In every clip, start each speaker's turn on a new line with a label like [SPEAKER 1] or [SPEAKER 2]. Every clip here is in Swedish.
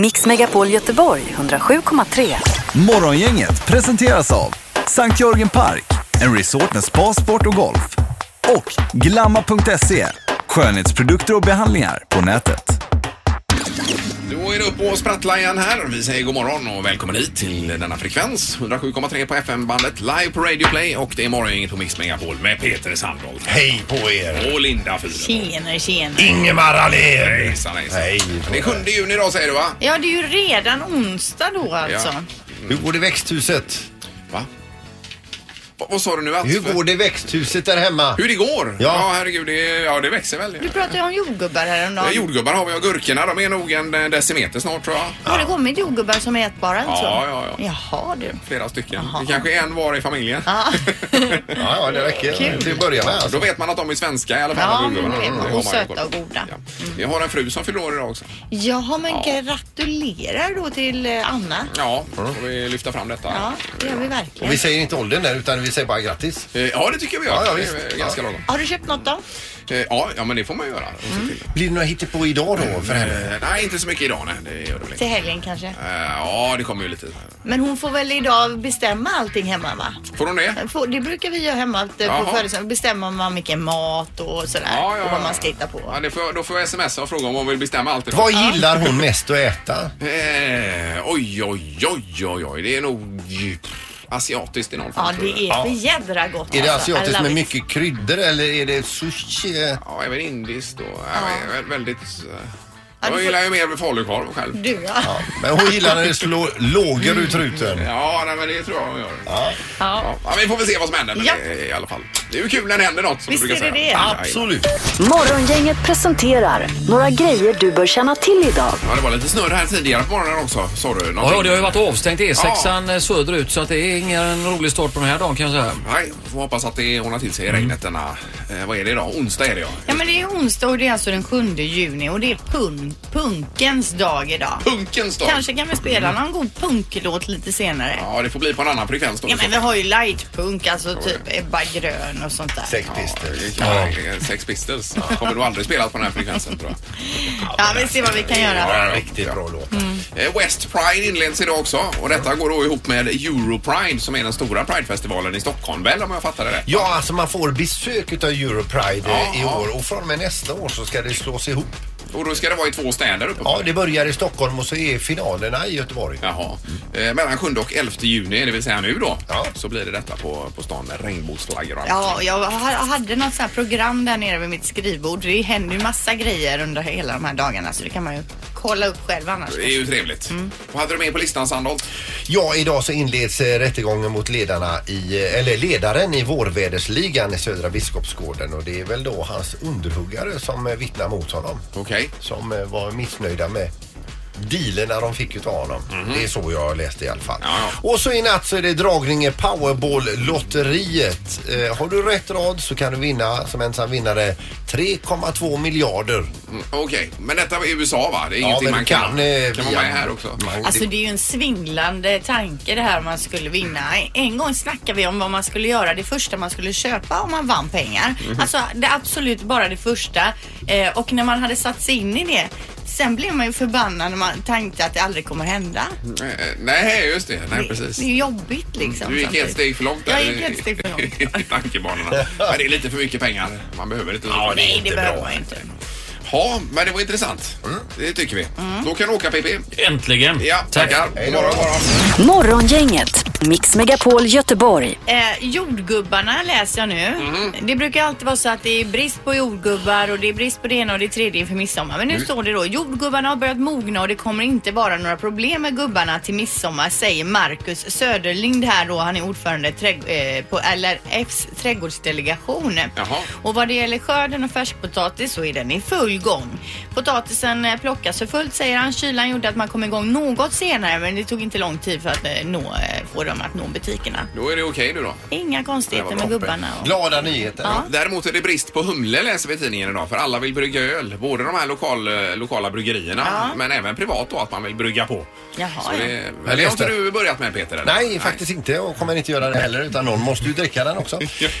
[SPEAKER 1] Mix Megapol Göteborg 107,3.
[SPEAKER 2] Morgongänget presenteras av Sankt Jörgen Park, en resort med spa, sport och golf. Och Glamma.se, skönhetsprodukter och behandlingar på nätet.
[SPEAKER 3] Då är det upp och sprattla igen här. Vi säger god morgon och välkommen hit till denna frekvens. 107,3 på FM-bandet, live på Radio Play och det är morgongänget på Mix Megapol med Peter Sandholt.
[SPEAKER 4] Hej på er!
[SPEAKER 3] Och Linda Fyrebo.
[SPEAKER 5] Tjena, tjena.
[SPEAKER 4] Ingemar Ahlén!
[SPEAKER 3] Hejsan, hejsan.
[SPEAKER 4] Hej
[SPEAKER 3] Det är
[SPEAKER 4] på
[SPEAKER 3] 7
[SPEAKER 4] er.
[SPEAKER 3] juni idag säger du va?
[SPEAKER 5] Ja, det är ju redan onsdag då alltså.
[SPEAKER 3] Ja.
[SPEAKER 4] Hur går det i växthuset?
[SPEAKER 3] Va? Va- Vad sa du nu? Att
[SPEAKER 4] Hur går det i växthuset där hemma?
[SPEAKER 3] Hur det går?
[SPEAKER 4] Ja.
[SPEAKER 3] herregud, det, ja, det växer väl.
[SPEAKER 5] Du pratade ju om jordgubbar häromdagen.
[SPEAKER 3] Ja, Jordgubbar har vi och gurkorna, de är nog en eh, decimeter snart tror jag.
[SPEAKER 5] Har det kommit jordgubbar som är ätbara? än så?
[SPEAKER 3] Ja, ja, ja.
[SPEAKER 5] Jaha du.
[SPEAKER 3] Flera stycken. Det kanske är en var i familjen.
[SPEAKER 5] Ja,
[SPEAKER 4] Ja, ja, det räcker till att börja med.
[SPEAKER 3] Då
[SPEAKER 4] Alltså.
[SPEAKER 3] vet man att de är svenska i alla fall.
[SPEAKER 5] ja
[SPEAKER 3] de
[SPEAKER 5] men
[SPEAKER 3] gurkorna.
[SPEAKER 5] det
[SPEAKER 3] Det har
[SPEAKER 5] var
[SPEAKER 3] man ju
[SPEAKER 5] och söta
[SPEAKER 3] koll
[SPEAKER 5] och
[SPEAKER 3] på.
[SPEAKER 5] goda.
[SPEAKER 3] Ja. Vi har en fru som fyller år idag också.
[SPEAKER 5] Jaha, men gratulerar då till eh, Anna.
[SPEAKER 3] Ja, får vi lyfta fram detta.
[SPEAKER 5] Ja, det gör vi
[SPEAKER 4] Och
[SPEAKER 5] verkligen.
[SPEAKER 4] vi säger inte åldern där utan vi säger bara grattis.
[SPEAKER 3] Eh, Ja, det tycker jag vi gör.
[SPEAKER 4] Ja, ja,
[SPEAKER 3] det
[SPEAKER 4] visst.
[SPEAKER 3] är eh, ganska
[SPEAKER 4] Ja.
[SPEAKER 3] lagom.
[SPEAKER 5] Har du köpt något då?
[SPEAKER 3] Eh, Ja, ja, men det får man göra. Och se till.
[SPEAKER 4] Blir det några hittepå idag då för henne?
[SPEAKER 3] Eh, Nej, inte så mycket idag. Nej, det gör det väl inte.
[SPEAKER 5] Till helgen kanske?
[SPEAKER 3] Eh, Ja, det kommer ju lite.
[SPEAKER 5] Men hon får väl idag bestämma allting hemma va?
[SPEAKER 3] Får hon det?
[SPEAKER 5] Får- Det brukar vi göra hemma att, eh,
[SPEAKER 3] Jaha.
[SPEAKER 5] på födelsedagen. Bestämma man vilken mat och sådär.
[SPEAKER 3] Ja, ja,
[SPEAKER 5] och vad
[SPEAKER 3] ja.
[SPEAKER 5] man ska hitta på.
[SPEAKER 3] Ja, det får, jag- då får jag smsa och fråga om hon vill bestämma allt idag.
[SPEAKER 4] Vad gillar hon mest att äta?
[SPEAKER 3] Eh, Oj, oj, oj, oj, oj. Det är nog pff, asiatiskt i någon form.
[SPEAKER 5] Ja,
[SPEAKER 3] tror
[SPEAKER 5] det
[SPEAKER 3] jag.
[SPEAKER 5] är för jädra gott.
[SPEAKER 4] Är det
[SPEAKER 5] alltså. I
[SPEAKER 4] asiatiskt
[SPEAKER 5] love
[SPEAKER 4] med
[SPEAKER 5] it.
[SPEAKER 4] mycket kryddor eller är det sushi?
[SPEAKER 3] Ja, även indiskt och ja. vä- väldigt... eh,
[SPEAKER 5] du får-
[SPEAKER 3] Jag gillar ju mer med falukorv själv.
[SPEAKER 5] Du ja.
[SPEAKER 4] Ja, men hon gillar när det slår lågor ut truten.
[SPEAKER 3] Ja, nej, men det tror jag hon gör.
[SPEAKER 4] Ja.
[SPEAKER 3] Ja, men vi får väl se vad som händer men
[SPEAKER 5] Ja.
[SPEAKER 3] det, i alla fall. Det är ju kul när det händer något som
[SPEAKER 5] Visst
[SPEAKER 3] du brukar
[SPEAKER 5] är det
[SPEAKER 3] säga.
[SPEAKER 5] det.
[SPEAKER 4] Absolut.
[SPEAKER 1] Morgongänget presenterar några grejer du bör känna till idag.
[SPEAKER 3] Ja, det var lite snurr här tidigare på morgonen också. Sa du någonting?
[SPEAKER 6] Ja, ja, det har ju varit avstängt E6 ja. söderut så att det är ingen rolig start på den här dagen kan jag säga.
[SPEAKER 3] Nej, får hoppas att det ordnar till sig i regnet
[SPEAKER 6] Mm.
[SPEAKER 3] denna... Eh, vad är det idag? Onsdag är det ja.
[SPEAKER 5] Ja men det är onsdag och det är alltså den 7 juni och det är pun punkens dag idag.
[SPEAKER 3] Punkens dag.
[SPEAKER 5] Kanske kan vi spela någon god punklåt lite senare. Ja,
[SPEAKER 3] Ja, det får bli på en annan frekvens då.
[SPEAKER 5] men vi har ju lightpunk, alltså typ Ebba Grön och sånt där.
[SPEAKER 4] Sex
[SPEAKER 3] Ja, det
[SPEAKER 4] pistols.
[SPEAKER 3] kan vara det. Sex Pistols kommer nog aldrig spelas på den här frekvensen tror
[SPEAKER 5] Ja vi ser vad vi kan göra.
[SPEAKER 4] Ja, riktigt bra låt.
[SPEAKER 3] jag. Eh, West Pride inleds idag också och detta går då ihop med Europride som är den stora Pridefestivalen i Stockholm väl om jag fattar det rätt?
[SPEAKER 4] Ja, alltså man får besök utav Europride eh, i
[SPEAKER 3] Ja.
[SPEAKER 4] år och från och med nästa år så ska det slås ihop.
[SPEAKER 3] Och då ska det vara i två städer uppe på
[SPEAKER 4] Ja, det börjar i Stockholm och så är finalerna i Göteborg.
[SPEAKER 3] Jaha. Eh, mellan 7 och 11 juni, det vill säga nu då,
[SPEAKER 4] Ja.
[SPEAKER 3] så blir det detta på, på stan med regnbågsflaggor och allt.
[SPEAKER 5] Ja, jag ha- hade något sånt här program där nere vid mitt skrivbord. Det händer ju massa grejer under hela de här dagarna så det kan man ju kolla upp själv annars.
[SPEAKER 3] Det är ju trevligt.
[SPEAKER 5] Mm.
[SPEAKER 3] Vad hade du med på listan Sandholt?
[SPEAKER 4] Ja, idag så inleds eh, rättegången mot ledarna i, eh, eller ledaren i vårvädersligan i Södra Biskopsgården och det är väl då hans underhuggare som eh, vittnar mot honom.
[SPEAKER 3] Okej.
[SPEAKER 4] Som eh, var missnöjda med dealerna de fick utav honom. Det är så jag läste i alla fall.
[SPEAKER 3] Mhm. Ja,
[SPEAKER 4] Och så i natt så är det dragning i Powerball-lotteriet. Eh, har du rätt rad så kan du vinna som ensam vinnare 3,2 miljarder.
[SPEAKER 3] Mm, Okej, men detta var i USA va? Det är ingenting
[SPEAKER 4] men
[SPEAKER 3] man
[SPEAKER 4] du
[SPEAKER 3] kan.
[SPEAKER 4] eh,
[SPEAKER 3] kan vara
[SPEAKER 4] via-
[SPEAKER 3] med här också?
[SPEAKER 4] Man-
[SPEAKER 5] Alltså det är ju en svindlande tanke det här om man skulle vinna. En gång snackade vi om vad man skulle göra det första man skulle köpa om man vann pengar.
[SPEAKER 3] Mhm.
[SPEAKER 5] Alltså det är absolut bara det första. Eh, och när man hade satt sig in i det sen blev man ju förbannad när man tänkte att det aldrig kommer hända.
[SPEAKER 3] Eh, nej, just det. Nej,
[SPEAKER 5] Det,
[SPEAKER 3] precis. Mm,
[SPEAKER 5] det är ju jobbigt liksom.
[SPEAKER 3] Du gick ett
[SPEAKER 5] samtidigt.
[SPEAKER 3] steg för långt där.
[SPEAKER 5] Jag gick ett steg för långt.
[SPEAKER 3] I tankebanorna. Men det är lite för mycket pengar. Man behöver inte. Ja,
[SPEAKER 5] Nej, det behöver man inte.
[SPEAKER 3] Ja, men det var intressant. Det tycker vi.
[SPEAKER 5] Mm.
[SPEAKER 3] Då kan du åka PP.
[SPEAKER 6] Äntligen!
[SPEAKER 3] Ja, tackar. God morgon, god morgon.
[SPEAKER 1] Morgongänget, Mix Megapol Göteborg.
[SPEAKER 5] Eh, jordgubbarna läser jag nu. Det brukar alltid vara så att det är brist på jordgubbar och det är brist på det ena och det tredje inför midsommar. Men nu står det då jordgubbarna har börjat mogna och det kommer inte vara några problem med gubbarna till midsommar säger Marcus Söderlind här då. Han är ordförande i trädg- eh, på LRFs trädgårdsdelegation.
[SPEAKER 3] Jaha.
[SPEAKER 5] Och vad det gäller skörden och färskpotatis så är den i full gång. Potatisen eh, plockas för fullt säger han. Kylan gjorde att man kom igång något senare men det tog inte lång tid för att eh, nå, eh, få de om att nå butikerna.
[SPEAKER 3] Då är det okej nu då.
[SPEAKER 5] Inga
[SPEAKER 3] Det var
[SPEAKER 5] konstigheter med
[SPEAKER 3] toppen.
[SPEAKER 5] gubbarna. Och...
[SPEAKER 4] Glada nyheter.
[SPEAKER 5] Ja.
[SPEAKER 3] Däremot är det brist på humle läser vi i tidningen idag för alla vill brygga öl. Både de här lokal, eh, lokala bryggerierna
[SPEAKER 5] Ja.
[SPEAKER 3] men även privat då att man vill brygga på. Så
[SPEAKER 5] Jaha, ja.
[SPEAKER 3] det, men det har inte du börjat med Peter? Eller?
[SPEAKER 4] Nej, faktiskt inte och kommer inte göra det heller utan någon måste ju dricka den också.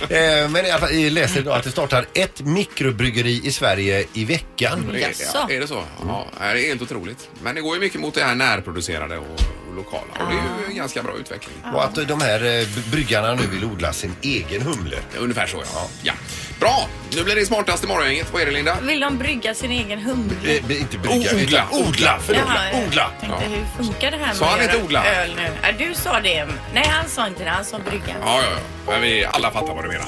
[SPEAKER 4] eh, men i alla fall, jag läser idag att det startar ett mikrobryggeri i Sverige i veckan.
[SPEAKER 3] Är,
[SPEAKER 5] Jaså?
[SPEAKER 3] är det så? Ja, det är helt otroligt. Men det går ju mycket mot det här närproducerade och, och lokala och det är ju en ganska bra utveckling.
[SPEAKER 4] Och att de här eh, b- bryggarna nu vill odla sin egen humle.
[SPEAKER 3] Ungefär så ja. ja. Bra! Nu blir det smartaste morgongänget. Vad är det Linda?
[SPEAKER 5] Vill de brygga sin egen humle?
[SPEAKER 4] Eh, b- inte brygga,
[SPEAKER 3] Odla,
[SPEAKER 4] utan odla, förlåt,
[SPEAKER 5] Jaha, jag
[SPEAKER 4] odla.
[SPEAKER 5] Tänkte,
[SPEAKER 3] Ja.
[SPEAKER 5] Hur funkar det här med
[SPEAKER 3] Sa han
[SPEAKER 5] att
[SPEAKER 3] inte
[SPEAKER 5] göra
[SPEAKER 3] odla?
[SPEAKER 5] öl nu? Ja, du sa det. Nej, han sa inte det. Han sa brygga.
[SPEAKER 3] Ja, ja, ja. Men vi alla fattar vad du menar.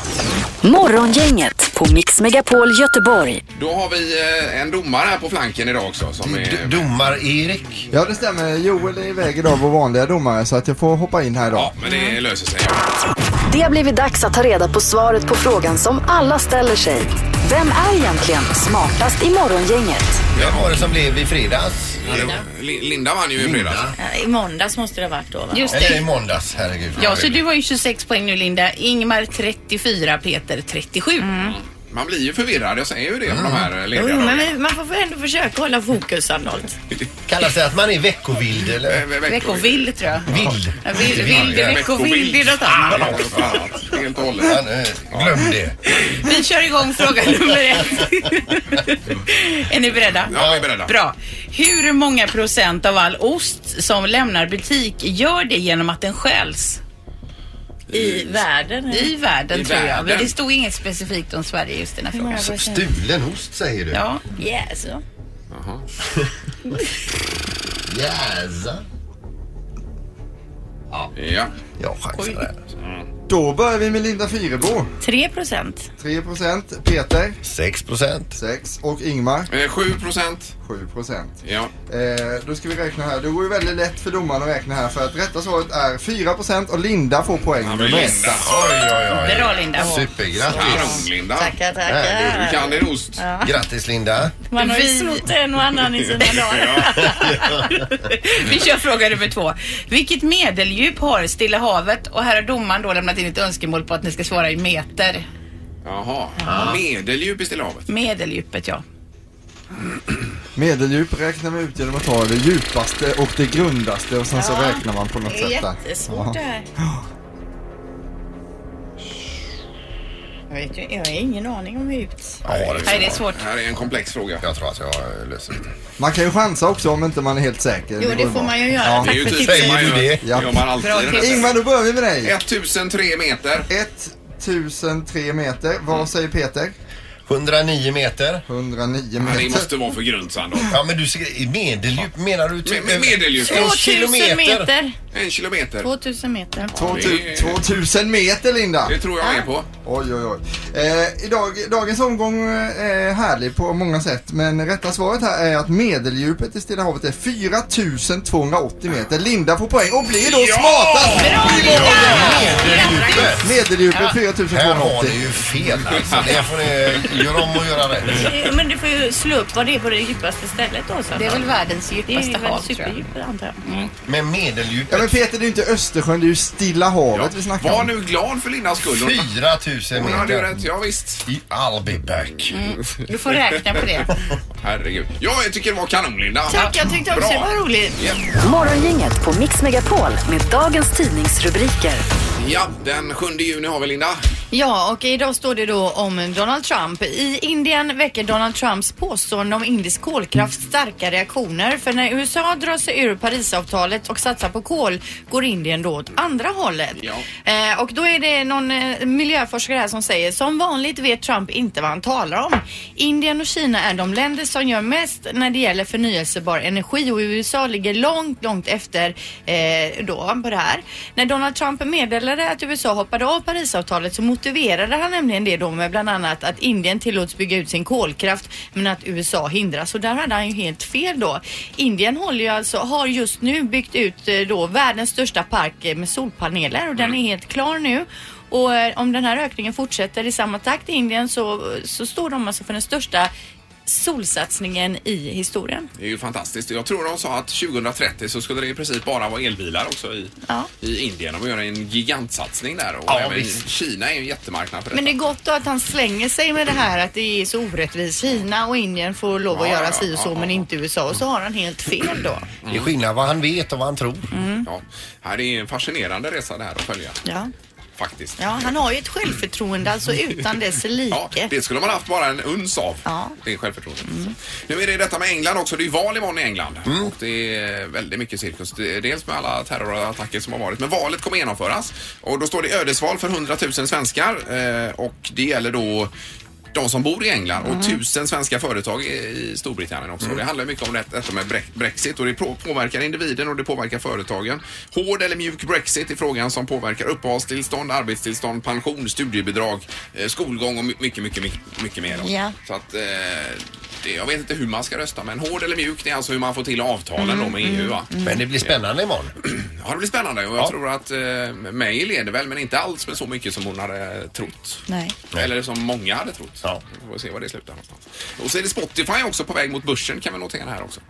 [SPEAKER 1] Morgongänget på Mix Megapol Göteborg.
[SPEAKER 3] Då har vi eh, en domare här på flanken idag också som
[SPEAKER 4] D-
[SPEAKER 3] är...
[SPEAKER 4] Domar-Erik.
[SPEAKER 7] Ja, det stämmer. Joel är iväg idag, vår vanliga domare, så att jag får hoppa in här idag.
[SPEAKER 3] Ja, men det löser sig.
[SPEAKER 1] Det har blivit dags att ta reda på svaret på frågan som alla ställer sig. Vem är egentligen smartast i morgongänget?
[SPEAKER 4] Vem var det som blev i fredags?
[SPEAKER 3] Ja, det var- Li- Linda vann ju i fredags.
[SPEAKER 5] Ja, I måndags måste det ha varit då, va?
[SPEAKER 8] Just
[SPEAKER 4] Eller i
[SPEAKER 8] det.
[SPEAKER 4] måndags, herregud.
[SPEAKER 8] Ja, så du har ju 26 poäng nu Linda. Ingmar 34, Peter 37.
[SPEAKER 5] Mm.
[SPEAKER 3] Man blir ju förvirrad, jag säger ju det med de här eh,
[SPEAKER 5] Jo,
[SPEAKER 3] lediga
[SPEAKER 5] men
[SPEAKER 3] dagarna.
[SPEAKER 5] vi- man får väl ändå försöka hålla fokus, Arnold.
[SPEAKER 4] Kallas det att man är veckovild eller?
[SPEAKER 3] Ve- ve-
[SPEAKER 8] Veckovild tror jag.
[SPEAKER 4] Vild.
[SPEAKER 8] Ja, Vild,
[SPEAKER 4] Inte
[SPEAKER 8] vild,
[SPEAKER 3] Ja,
[SPEAKER 8] veckovild, det är något annat.
[SPEAKER 3] Ja, något annat. Helt och
[SPEAKER 4] Ja,
[SPEAKER 3] hållet.
[SPEAKER 4] nu, Glöm det.
[SPEAKER 8] Vi kör igång fråga nummer ett. är ni beredda?
[SPEAKER 3] Ja, vi är beredda.
[SPEAKER 8] Bra. Hur många procent av all ost som lämnar butik gör det genom att den stjäls?
[SPEAKER 5] I världen.
[SPEAKER 8] I världen
[SPEAKER 3] I
[SPEAKER 8] tror jag.
[SPEAKER 3] världen?
[SPEAKER 8] Men det stod inget specifikt om Sverige just i den här frågan.
[SPEAKER 5] Ja,
[SPEAKER 4] Stulen ost säger du?
[SPEAKER 8] Ja,
[SPEAKER 5] Yes. ja.
[SPEAKER 4] Yes.
[SPEAKER 3] Ja.
[SPEAKER 4] Jag chansar där.
[SPEAKER 7] Då börjar vi med Linda Fyrebo.
[SPEAKER 5] 3 procent.
[SPEAKER 7] 3 Peter
[SPEAKER 4] 6 procent.
[SPEAKER 7] 6 och Ingmar
[SPEAKER 3] Eh, 7 procent.
[SPEAKER 7] 7 procent.
[SPEAKER 3] Ja.
[SPEAKER 7] Eh, då ska vi räkna här. Det går ju väldigt lätt för domaren att räkna här för att rätta svaret är 4 procent och Linda får poäng.
[SPEAKER 3] Han blir Linda.
[SPEAKER 4] Oj, oj, oj.
[SPEAKER 8] bra Linda.
[SPEAKER 4] Supergrattis.
[SPEAKER 3] Kanon, Linda.
[SPEAKER 5] Tackar,
[SPEAKER 3] Du
[SPEAKER 5] tackar.
[SPEAKER 3] kan din ost. Ja.
[SPEAKER 4] Grattis Linda.
[SPEAKER 5] Man har ju
[SPEAKER 8] Vi-
[SPEAKER 5] snott en och annan i sina dagar.
[SPEAKER 8] Vi kör fråga nummer två. Vilket medeldjup har Stilla havet? Och här har domaren då lämnat in ett önskemål på att ni ska svara i meter.
[SPEAKER 3] Jaha. Medeldjup i Stilla havet.
[SPEAKER 8] Medeldjupet ja.
[SPEAKER 7] Medeldjup räknar man ut genom att ta det djupaste och det grundaste och sen så räknar man på något
[SPEAKER 5] Det är
[SPEAKER 7] sätt där.
[SPEAKER 5] jättesvårt det här. Jag, vet ju, jag har ingen aning om hur djupt.
[SPEAKER 8] Nej, det är svårt.
[SPEAKER 3] Det här är en komplex fråga.
[SPEAKER 4] Jag tror att jag löser det.
[SPEAKER 7] Man kan ju chansa också om inte man är helt säker.
[SPEAKER 5] Jo,
[SPEAKER 7] går ju
[SPEAKER 5] det får
[SPEAKER 7] bra.
[SPEAKER 5] man ju göra.
[SPEAKER 7] Ja.
[SPEAKER 3] Det är
[SPEAKER 5] Tack
[SPEAKER 3] ju
[SPEAKER 5] för
[SPEAKER 3] typ
[SPEAKER 5] tipset.
[SPEAKER 4] Säger
[SPEAKER 3] man
[SPEAKER 4] du det?
[SPEAKER 3] gör- gör man alltid
[SPEAKER 8] Bra
[SPEAKER 3] i den
[SPEAKER 8] tips.
[SPEAKER 3] här.
[SPEAKER 7] Ingmar, då börjar vi med dig.
[SPEAKER 3] 1003 meter.
[SPEAKER 7] 1003 meter. Vad säger Peter?
[SPEAKER 4] 109 meter.
[SPEAKER 7] 109
[SPEAKER 3] Ja, Det
[SPEAKER 7] meter.
[SPEAKER 3] måste vara för grunt Sandholt.
[SPEAKER 4] Ja, men du ser, i medeldjup menar du?
[SPEAKER 3] Med- med medeldjup.
[SPEAKER 4] En
[SPEAKER 5] 2000
[SPEAKER 4] kilometer.
[SPEAKER 5] meter.
[SPEAKER 3] En kilometer.
[SPEAKER 5] 2000 meter.
[SPEAKER 7] 2000 2000 meter Linda!
[SPEAKER 3] Det tror jag är på.
[SPEAKER 7] Oj oj oj. Eh, idag, dagens omgång eh, är härlig på många sätt men rätta svaret här är att medeldjupet i Stilla havet är 4280 meter. Linda får poäng och blir då smartast!
[SPEAKER 4] Medeldjupet.
[SPEAKER 7] Medeldjupet
[SPEAKER 4] Här har ni
[SPEAKER 7] 4280.
[SPEAKER 4] ju fel alltså. Det får ni göra om och göra rätt.
[SPEAKER 5] Men du får ju slå upp vad det är på det djupaste stället då. Så.
[SPEAKER 8] typ- Det är väl världens
[SPEAKER 5] det är
[SPEAKER 8] djupaste
[SPEAKER 5] väl
[SPEAKER 8] hav tror jag.
[SPEAKER 5] superdjupt antar jag.
[SPEAKER 4] Men
[SPEAKER 7] Ja men
[SPEAKER 4] medeldjupet.
[SPEAKER 7] Peter det är ju inte Östersjön, det är ju Stilla havet vi snackar
[SPEAKER 3] Var
[SPEAKER 7] om.
[SPEAKER 3] nu glad för Lindas skull. Hon-
[SPEAKER 4] 4000
[SPEAKER 3] Hon hade ju
[SPEAKER 4] meter.
[SPEAKER 3] rätt, ja, visst.
[SPEAKER 4] I I'll be back.
[SPEAKER 8] Du får räkna på det.
[SPEAKER 3] Herregud. Ja, jag tycker det var kanon Linda.
[SPEAKER 5] Tack, jag tyckte också
[SPEAKER 3] Bra.
[SPEAKER 5] det var roligt.
[SPEAKER 1] Morgongänget på Mix Megapol med dagens tidningsrubriker.
[SPEAKER 3] Ja, den 7 juni har vi Linda.
[SPEAKER 5] Ja, och idag står det då om Donald Trump. I Indien väcker Donald Trumps påstående om indisk kolkraft starka reaktioner. För när USA drar sig ur Parisavtalet och satsar på kol går Indien då åt andra hållet.
[SPEAKER 3] Ja.
[SPEAKER 5] Eh, och då är det någon eh, miljöforskare här som säger som vanligt vet Trump inte vad han talar om. Indien och Kina är de länder som gör mest när det gäller förnyelsebar energi och USA ligger långt, långt efter eh, då på det här. När Donald Trump meddelade att USA hoppade av Parisavtalet så motiverade han nämligen det då med bland annat att Indien tillåts bygga ut sin kolkraft men att USA hindras och där hade han ju helt fel då. Indien håller ju alltså, har just nu byggt ut eh, då världens största park eh, med solpaneler och den
[SPEAKER 3] Mm.
[SPEAKER 5] är helt klar nu. Och eh, om den här ökningen fortsätter i samma takt i Indien så, så står de alltså för den största solsatsningen i historien.
[SPEAKER 3] Det är ju fantastiskt. Jag tror de sa att 2030 så skulle det i princip bara vara elbilar också i,
[SPEAKER 5] Ja.
[SPEAKER 3] i Indien. De gör en gigantsatsning där och
[SPEAKER 4] Ja,
[SPEAKER 3] även
[SPEAKER 4] visst.
[SPEAKER 3] Kina är ju en jättemarknad för detta.
[SPEAKER 5] Men det är gott då att han slänger sig med det här att det är så orättvist. Kina och Indien får lov att
[SPEAKER 3] Ja, ja,
[SPEAKER 5] göra si och
[SPEAKER 3] ja,
[SPEAKER 5] så
[SPEAKER 3] ja.
[SPEAKER 5] men inte USA och så har han helt fel då.
[SPEAKER 4] Det är skillnad vad han vet och vad han tror.
[SPEAKER 3] Ja, här är en fascinerande resa det här att följa
[SPEAKER 5] Ja.
[SPEAKER 3] faktiskt.
[SPEAKER 5] ja, han har ju ett självförtroende alltså utan dess
[SPEAKER 3] Ja,
[SPEAKER 5] like.
[SPEAKER 3] det skulle man haft bara en uns av.
[SPEAKER 5] Ja.
[SPEAKER 3] Det är självförtroende. Mm. Nu är det detta med England också. Det är ju val imorgon i England. Och det är väldigt mycket cirkus. Det är Dels med alla terrorattacker som har varit. Men valet kommer genomföras. Och då står det ödesval för 100 000 svenskar. Eh, och det gäller då de som bor i England och tusen svenska företag i- i Storbritannien också. Det handlar mycket om det- detta med bre- Brexit och det på- påverkar individen och det påverkar företagen. Hård eller mjuk Brexit är frågan som påverkar uppehållstillstånd, arbetstillstånd, pension, studiebidrag, eh, skolgång och my- mycket, mycket, mycket, mycket mer. då.
[SPEAKER 5] Ja.
[SPEAKER 3] Så att eh, det, jag vet inte hur man ska rösta men hård eller mjuk det är alltså hur man får till avtalen då med EU va?
[SPEAKER 4] Men det blir spännande imorgon.
[SPEAKER 3] Ja det blir spännande och jag
[SPEAKER 4] mm, Ja.
[SPEAKER 3] tror att eh, May leder väl men inte alls med så mycket som hon hade trott.
[SPEAKER 5] Nej.
[SPEAKER 3] Eller som många hade trott.
[SPEAKER 4] Ja.
[SPEAKER 3] Vi får se var det slutar någonstans. Och så är det Spotify också på väg mot börsen kan vi notera här också.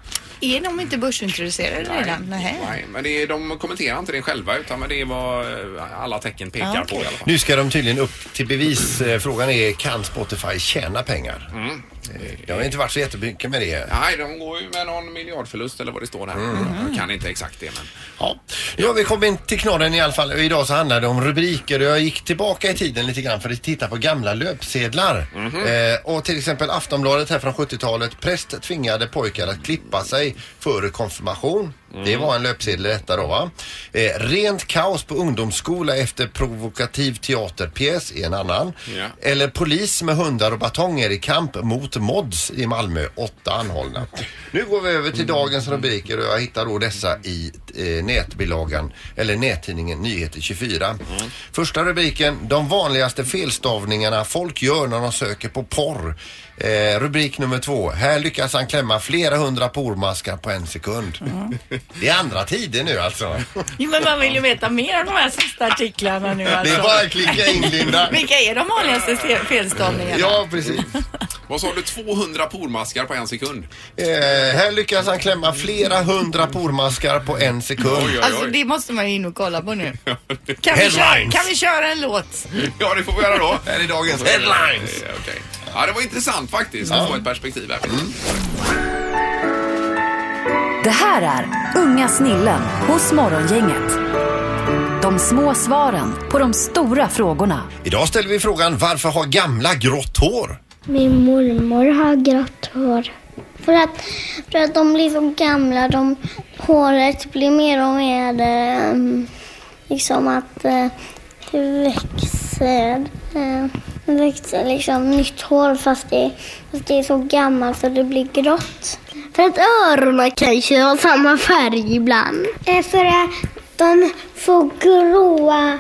[SPEAKER 5] Är de inte börsintroducerade redan? Nej.
[SPEAKER 3] Nej, men det är, de kommenterar inte det själva utan men det är vad eh, alla tecken pekar
[SPEAKER 5] Ja,
[SPEAKER 3] på i alla fall.
[SPEAKER 4] Nu ska de tydligen upp till bevis. Eh, Frågan är kan Spotify tjäna pengar? Eh, Jag har inte varit så jättemycket med det.
[SPEAKER 3] Nej, de går ju med någon miljardförlust eller vad det står där. Jag kan inte exakt det men.
[SPEAKER 4] Ja. Nu har vi kommit till knorren i alla fall. Och Idag så handlar det om rubriker och jag gick tillbaka i tiden lite grann för att titta på gamla löpsedlar. eh, och till exempel Aftonbladet här från 70-talet. Präst tvingade pojkar att klippa sig före konfirmation. Det var en löpsedel i detta då va. Eh, rent kaos på ungdomsskola efter provokativ teaterpjäs är en annan.
[SPEAKER 3] Ja.
[SPEAKER 4] Eller polis med hundar och batonger i kamp mot mods i Malmö. Åtta anhållna. Nu går vi över till dagens rubriker och jag hittar då dessa i eh, nätbilagan eller nättidningen Nyheter 24. Första rubriken, de vanligaste felstavningarna folk gör när de söker på porr. Eh, rubrik nummer två, här lyckas han klämma flera hundra pormaskar på en sekund. Det är andra tider nu alltså.
[SPEAKER 5] Jo, men man vill ju veta mer om de här sista artiklarna nu
[SPEAKER 4] Det är
[SPEAKER 5] alltså.
[SPEAKER 4] bara att klicka in Linda.
[SPEAKER 5] Vilka är de vanligaste se- felstavningarna?
[SPEAKER 4] Ja, precis.
[SPEAKER 3] Vad sa du? 200 pormaskar på en sekund?
[SPEAKER 4] Eh, här lyckas han klämma flera hundra pormaskar på en sekund.
[SPEAKER 3] Oj, oj,
[SPEAKER 5] Alltså
[SPEAKER 3] oj.
[SPEAKER 5] det måste man ju in och kolla på nu. Kan vi, köra,
[SPEAKER 4] Headlines.
[SPEAKER 5] kan vi köra en låt?
[SPEAKER 3] Ja, det får vi göra då. Här är dagens
[SPEAKER 4] headlines.
[SPEAKER 3] Eh, okej. Ja, det var intressant faktiskt att få ett perspektiv här.
[SPEAKER 7] Mm.
[SPEAKER 1] Det här är Unga snillen hos Morgongänget. De små svaren på de stora frågorna.
[SPEAKER 4] Idag ställer vi frågan varför har gamla grått hår?
[SPEAKER 9] Min mormor har grått hår. För att, för att de blir så gamla. De, håret blir mer och mer eh, liksom att eh, det växer. Eh, det växer liksom nytt hår fast det, fast det är så gammalt så det blir grått. För att öronen kanske har samma färg ibland. för att de får gråa